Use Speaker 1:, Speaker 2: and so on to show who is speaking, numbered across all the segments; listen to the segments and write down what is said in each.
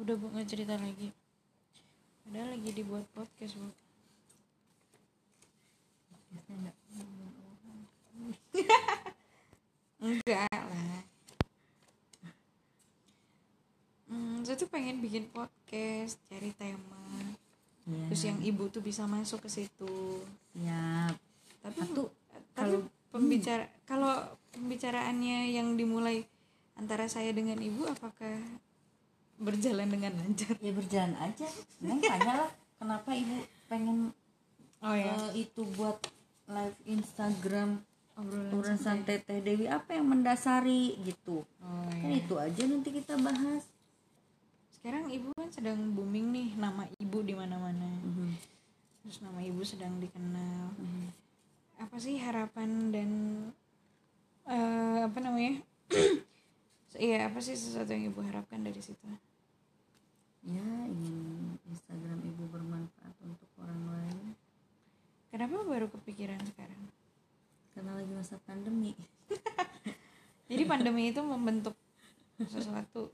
Speaker 1: udah bu nggak cerita lagi padahal lagi dibuat podcast bu enggak lah hmm, saya tuh pengen bikin podcast cari tema
Speaker 2: Iya.
Speaker 1: terus yang ibu tuh bisa masuk ke situ
Speaker 2: siap
Speaker 1: tapi tapi
Speaker 2: Satu, kalau-
Speaker 1: pembicara kalau pembicaraannya yang dimulai antara saya dengan ibu apakah berjalan dengan lancar
Speaker 2: ya berjalan aja neng tanya lah kenapa ibu pengen
Speaker 1: oh
Speaker 2: eh, itu buat live Instagram
Speaker 1: obrolan
Speaker 2: urusan santai teh Dewi apa yang mendasari gitu
Speaker 1: oh,
Speaker 2: kan
Speaker 1: iya.
Speaker 2: itu aja nanti kita bahas
Speaker 1: sekarang ibu kan sedang booming nih nama ibu di mana-mana terus nama ibu sedang dikenal
Speaker 2: Mm-hmm.
Speaker 1: apa sih harapan dan eh, apa namanya iya apa sih sesuatu yang ibu harapkan dari situ
Speaker 2: ya ingin Instagram ibu bermanfaat untuk orang lain
Speaker 1: kenapa baru kepikiran sekarang
Speaker 2: karena lagi masa pandemi
Speaker 1: jadi pandemi itu membentuk sesuatu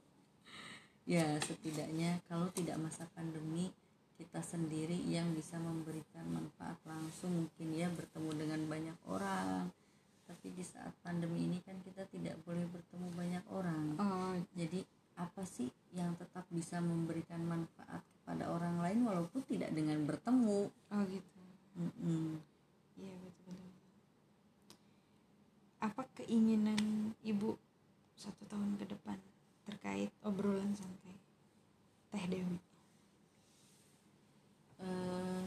Speaker 2: ya setidaknya kalau tidak masa pandemi kita sendiri yang bisa memberikan manfaat langsung mungkin ya bertemu dengan banyak orang tapi di saat pandemi ini kan kita tidak boleh bertemu banyak orang
Speaker 1: oh
Speaker 2: jadi apa sih yang tetap bisa memberikan manfaat kepada orang lain walaupun tidak dengan bertemu
Speaker 1: oh gitu
Speaker 2: Mm-mm.
Speaker 1: Iya betul betul. Apa keinginan ibu satu tahun ke depan terkait obrolan santai Teh Dewi?
Speaker 2: eh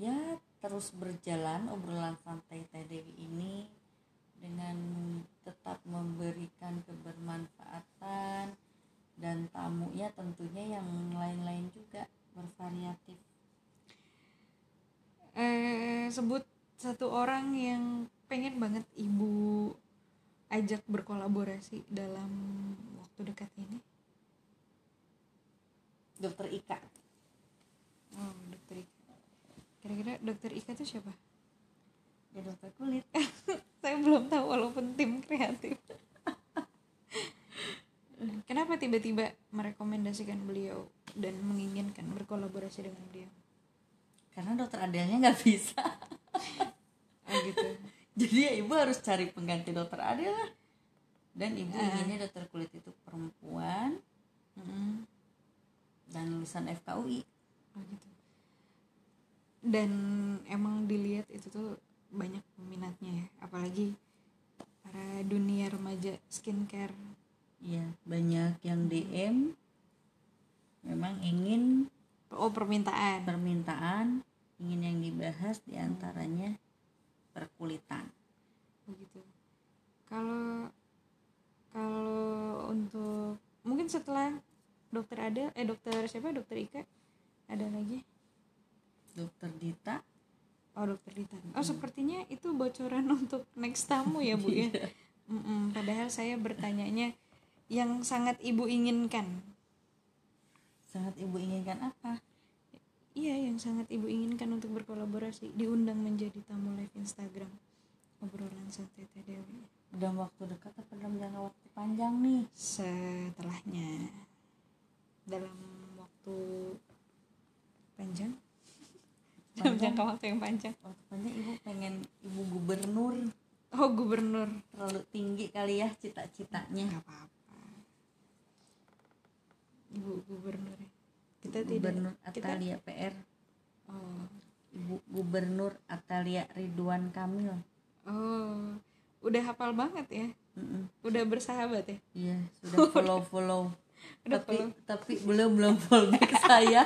Speaker 2: ya terus berjalan obrolan santai Teh Dewi ini dengan tetap memberikan kebermanfaatan dan tamunya tentunya yang lain-lain juga bervariatif
Speaker 1: Eh sebut satu orang yang pengen banget ibu ajak berkolaborasi dalam waktu dekat ini.
Speaker 2: dokter Ika
Speaker 1: Oh dokter Ika. Kira-kira dokter Ika itu siapa?
Speaker 2: ya dokter kulit
Speaker 1: Saya belum tahu walaupun tim kreatif. Kenapa tiba-tiba merekomendasikan beliau dan menginginkan berkolaborasi dengan beliau?
Speaker 2: karena dokter Adelnya nggak bisa
Speaker 1: Oh gitu.
Speaker 2: jadi ya ibu harus cari pengganti dokter Adel lah. dan ibu inginnya dokter kulit itu perempuan
Speaker 1: Mm,
Speaker 2: dan lulusan FKUI
Speaker 1: oh gitu. Dan emang dilihat itu tuh banyak peminatnya ya, apalagi para dunia remaja skincare.
Speaker 2: Iya, banyak yang DM memang ingin
Speaker 1: Oh permintaan.
Speaker 2: permintaan, ingin yang dibahas diantaranya perkulitan.
Speaker 1: Oh gitu. Kalau kalau untuk mungkin setelah dokter ada eh dokter siapa dokter Ika ada lagi
Speaker 2: Dokter Dita,
Speaker 1: oh dokter Dita oh sepertinya itu bocoran untuk next tamu ya bu ya Mm-mm, padahal saya bertanyanya yang sangat ibu inginkan
Speaker 2: sangat ibu inginkan "Ah, apa?
Speaker 1: iya yang sangat ibu inginkan untuk berkolaborasi diundang menjadi tamu live Instagram obrolan santai Teh Dewi
Speaker 2: Dalam waktu dekat atau dalam jangka waktu panjang nih?
Speaker 1: setelahnya dalam waktu panjang dalam
Speaker 2: Panjang.
Speaker 1: jangka waktu yang panjang
Speaker 2: Waktu panjang ibu pengen ibu gubernur
Speaker 1: oh gubernur
Speaker 2: terlalu tinggi kali ya cita-citanya.
Speaker 1: nggak apa-apa ibu gubernur ya. kita
Speaker 2: Gubernur
Speaker 1: tidak kita
Speaker 2: Atalia PR,
Speaker 1: oh
Speaker 2: ibu gubernur Atalia Ridwan Kamil.
Speaker 1: oh udah hafal banget ya
Speaker 2: Mm-mm.
Speaker 1: udah bersahabat ya
Speaker 2: Iya, sudah follow follow.
Speaker 1: Udah
Speaker 2: tapi
Speaker 1: follow.
Speaker 2: tapi belum belum follow back saya.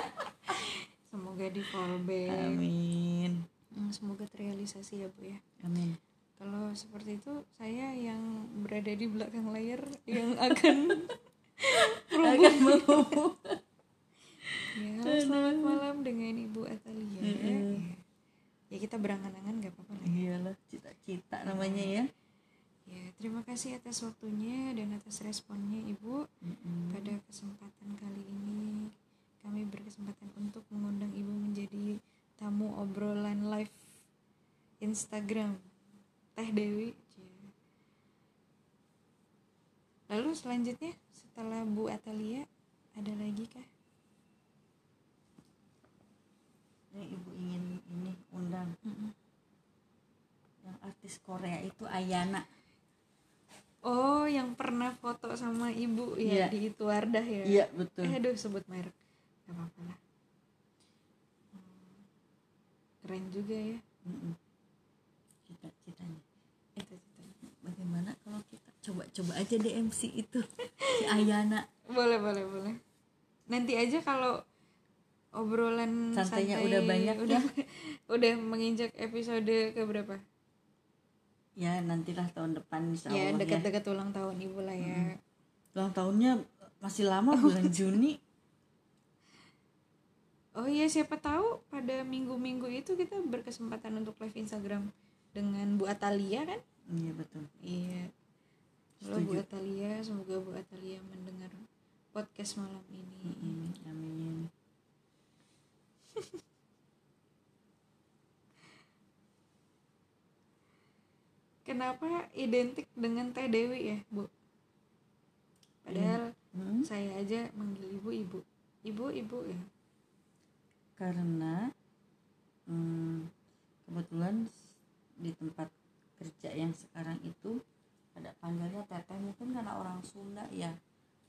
Speaker 1: semoga di fallback
Speaker 2: Amin.
Speaker 1: Hmm, semoga terrealisasi ya bu ya
Speaker 2: Amin.
Speaker 1: kalau seperti itu saya yang berada di belakang layar yang akan
Speaker 2: Akan mau.
Speaker 1: ya halo, selamat malam dengan ibu Atalia ya. ya kita berangan-angan nggak apa-apa lah ya.
Speaker 2: Iyalah, cita-cita namanya ya.
Speaker 1: ya terima kasih atas waktunya dan atas responnya ibu pada kesempatan kali ini kami berkesempatan untuk mengundang ibu menjadi tamu obrolan live Instagram Teh Dewi Cie. lalu selanjutnya setelah Bu Atalia ada lagi kah
Speaker 2: ini ibu ingin ini undang yang artis Korea itu Ayana
Speaker 1: oh yang pernah foto sama ibu ya
Speaker 2: Iya.
Speaker 1: di itu Wardah ya
Speaker 2: iya betul
Speaker 1: Eh, aduh sebut merek gak apa-apa lah Hmm, keren juga ya
Speaker 2: Mm-mm. cita-citanya
Speaker 1: cita-citanya.
Speaker 2: bagaimana kalau kita coba-coba aja DMC itu si Ayana
Speaker 1: boleh boleh boleh nanti aja kalau obrolan
Speaker 2: Santainya
Speaker 1: santai
Speaker 2: udah banyak
Speaker 1: udah udah menginjak episode ke berapa
Speaker 2: ya nantilah tahun depan insya
Speaker 1: ya
Speaker 2: Allah ya.
Speaker 1: dekat-dekat ulang tahun ibu lah ya
Speaker 2: ulang tahunnya masih lama bulan Juni
Speaker 1: oh iya siapa tahu pada minggu-minggu itu kita berkesempatan untuk live Instagram dengan Bu Atalia kan
Speaker 2: iya betul
Speaker 1: iya Halo Bu
Speaker 2: Setuju.
Speaker 1: Atalia semoga Bu Atalia mendengar podcast malam ini
Speaker 2: Mm, amin
Speaker 1: kenapa identik dengan Teh Dewi ya Bu padahal
Speaker 2: Hmm,
Speaker 1: saya aja manggil ibu ibu ibu ibu ya
Speaker 2: karena mm, kebetulan di tempat kerja yang sekarang itu ada panggilnya teteh mungkin karena orang Sunda ya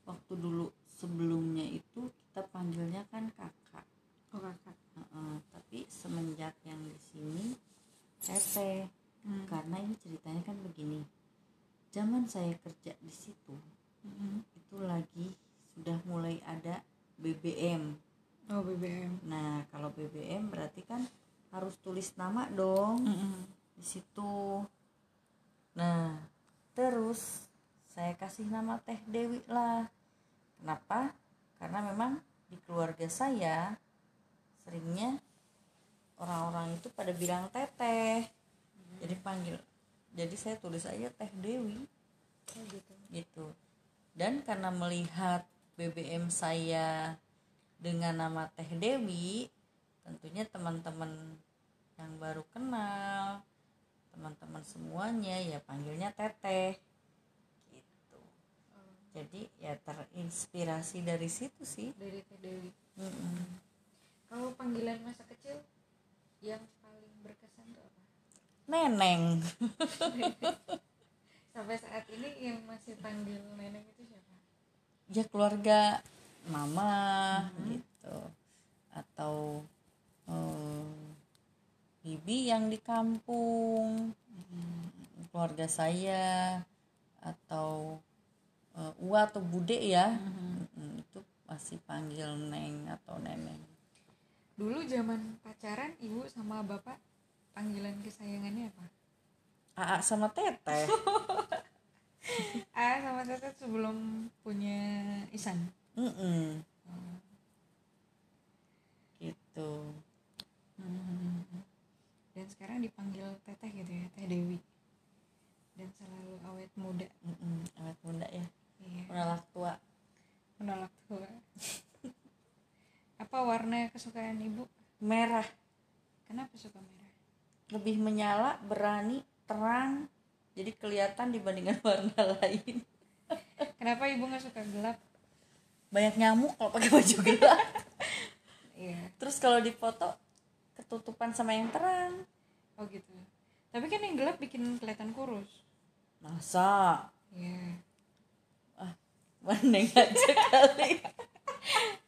Speaker 2: waktu dulu sebelumnya itu kita panggilnya kan kakak
Speaker 1: oh kakak
Speaker 2: Heeh, tapi semenjak yang di sini teteh
Speaker 1: Hmm.
Speaker 2: karena ini ceritanya kan begini zaman saya kerja di situ
Speaker 1: Mm-mm.
Speaker 2: itu lagi sudah mulai ada BBM
Speaker 1: oh BBM
Speaker 2: nah kalau BBM berarti kan harus tulis nama dong
Speaker 1: Mm-mm.
Speaker 2: di situ nah terus saya kasih nama Teh Dewi lah kenapa karena memang di keluarga saya seringnya orang-orang itu pada bilang teteh jadi panggil jadi saya tulis aja Teh Dewi
Speaker 1: Oh, gitu
Speaker 2: gitu dan karena melihat BBM saya dengan nama Teh Dewi tentunya teman-teman yang baru kenal teman-teman semuanya ya panggilnya Teteh gitu
Speaker 1: Oh,
Speaker 2: jadi ya terinspirasi dari situ sih
Speaker 1: dari Teh Dewi
Speaker 2: Mm-mm.
Speaker 1: kalau panggilan masa kecil yang paling berkesan tuh apa
Speaker 2: neneng
Speaker 1: sampai saat ini yang masih panggil nenek itu siapa
Speaker 2: ya keluarga mama gitu atau eh, bibi yang di kampung keluarga saya atau eh, ua atau bude ya Mm-mm, itu masih panggil neng atau neneng
Speaker 1: dulu zaman pacaran ibu sama bapak panggilan kesayangannya apa
Speaker 2: aa sama teteh
Speaker 1: ah sama teteh sebelum punya Isan
Speaker 2: Mm-mm. gitu
Speaker 1: Hmm. dan sekarang dipanggil teteh gitu ya Teh Dewi dan selalu awet muda
Speaker 2: Mm-mm, awet muda ya
Speaker 1: iya
Speaker 2: menolak tua
Speaker 1: menolak tua apa warna kesukaan ibu
Speaker 2: merah
Speaker 1: kenapa suka merah
Speaker 2: lebih menyala, berani, terang, jadi kelihatan dibandingkan warna lain.
Speaker 1: kenapa ibu nggak suka gelap
Speaker 2: Banyak nyamuk kalau pakai baju gelap.
Speaker 1: iya
Speaker 2: Terus kalau dipoto ketutupan sama yang terang.
Speaker 1: oh gitu tapi kan yang gelap bikin kelihatan kurus
Speaker 2: Masa?
Speaker 1: iya
Speaker 2: Mending aja kali.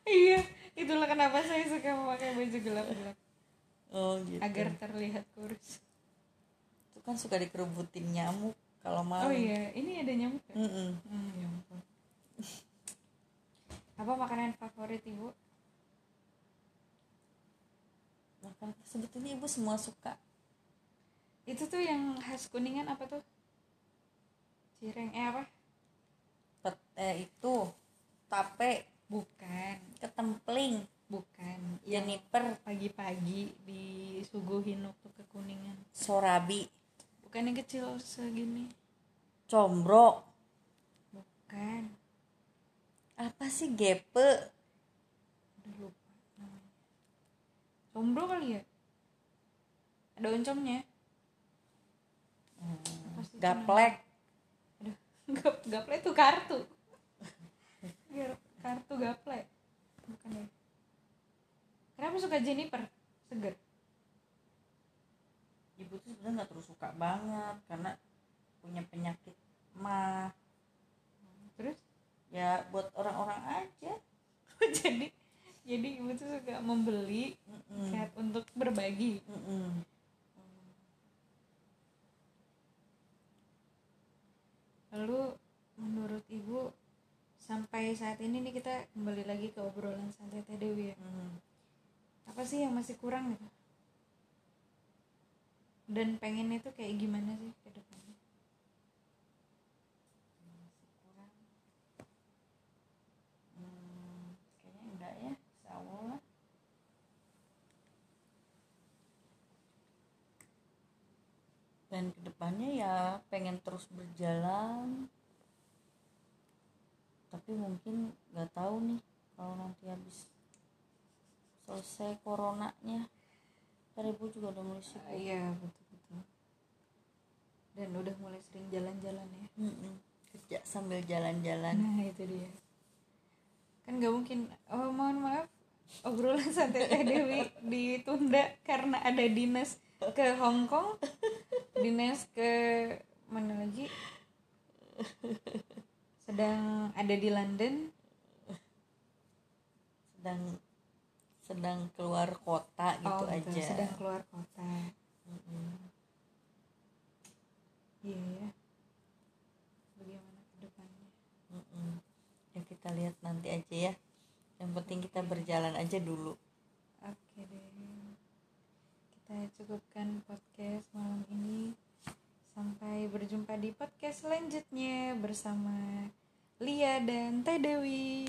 Speaker 1: iya itulah kenapa saya suka memakai baju gelap gelap
Speaker 2: Oh gitu.
Speaker 1: agar terlihat kurus
Speaker 2: itu kan suka dikerubutin nyamuk kalau
Speaker 1: oh
Speaker 2: mau.
Speaker 1: iya ini ada nyamuk nggak?
Speaker 2: Mm-mm.
Speaker 1: Hmm, ya ampun. apa makanan favorit ibu
Speaker 2: Makan Nah, kan sebetulnya ibu semua suka.
Speaker 1: itu tuh yang khas kuningan apa tuh cireng eh apa
Speaker 2: Pet, eh, itu tape,
Speaker 1: bukan
Speaker 2: ketempling,
Speaker 1: bukan yang
Speaker 2: jeniper,
Speaker 1: pagi-pagi disuguhin waktu ke kuningan
Speaker 2: sorabi,
Speaker 1: bukan yang kecil segini
Speaker 2: combro.
Speaker 1: bukan
Speaker 2: Apa sih gepe?
Speaker 1: udah lupa namanya combro kali ya ada oncomnya Apa sih itu
Speaker 2: Gaplek.
Speaker 1: namanya? aduh Gap, gaple itu kartu. Gar- kartu gaple. Bukan ya. Kenapa suka Jennifer? Seger.
Speaker 2: ibu tuh sebenarnya nggak terus suka banget karena punya penyakit mah
Speaker 1: Terus
Speaker 2: ya buat orang-orang aja
Speaker 1: jadi jadi ibu tuh suka membeli
Speaker 2: Mm-mm.
Speaker 1: sehat untuk berbagi.
Speaker 2: Mm-mm.
Speaker 1: Lalu menurut ibu sampai saat ini nih kita kembali lagi ke obrolan santai Teh Dewi ya.
Speaker 2: Mm.
Speaker 1: Apa sih yang masih kurang gitu? Dan pengennya tuh kayak gimana sih ke depannya?
Speaker 2: Hmm, kayaknya enggak ya insya Allah lah. dan kedepannya ya pengen terus berjalan tapi mungkin nggak tahu nih kalau nanti habis selesai coronanya Ntar ibu juga udah mulai sibuk
Speaker 1: iya betul betul. Dan udah mulai sering jalan-jalan ya.
Speaker 2: Mm-mm. kerja sambil jalan-jalan
Speaker 1: Nah itu dia. Kan nggak mungkin. Oh mohon maaf obrolan santai Teh Dewi ditunda karena ada dinas ke Hong Kong, dinas ke mana lagi? Sedang ada di London.
Speaker 2: sedang sedang keluar kota gitu
Speaker 1: oh, betul,
Speaker 2: aja
Speaker 1: Sedang keluar kota. Iya ya. Bagaimana ke depannya?
Speaker 2: Mm-mm. Ya kita lihat nanti aja ya. Yang penting kita berjalan aja dulu.
Speaker 1: Oke deh. Kita cukupkan podcast malam ini. Sampai berjumpa di podcast selanjutnya bersama Lia dan Teh Dewi.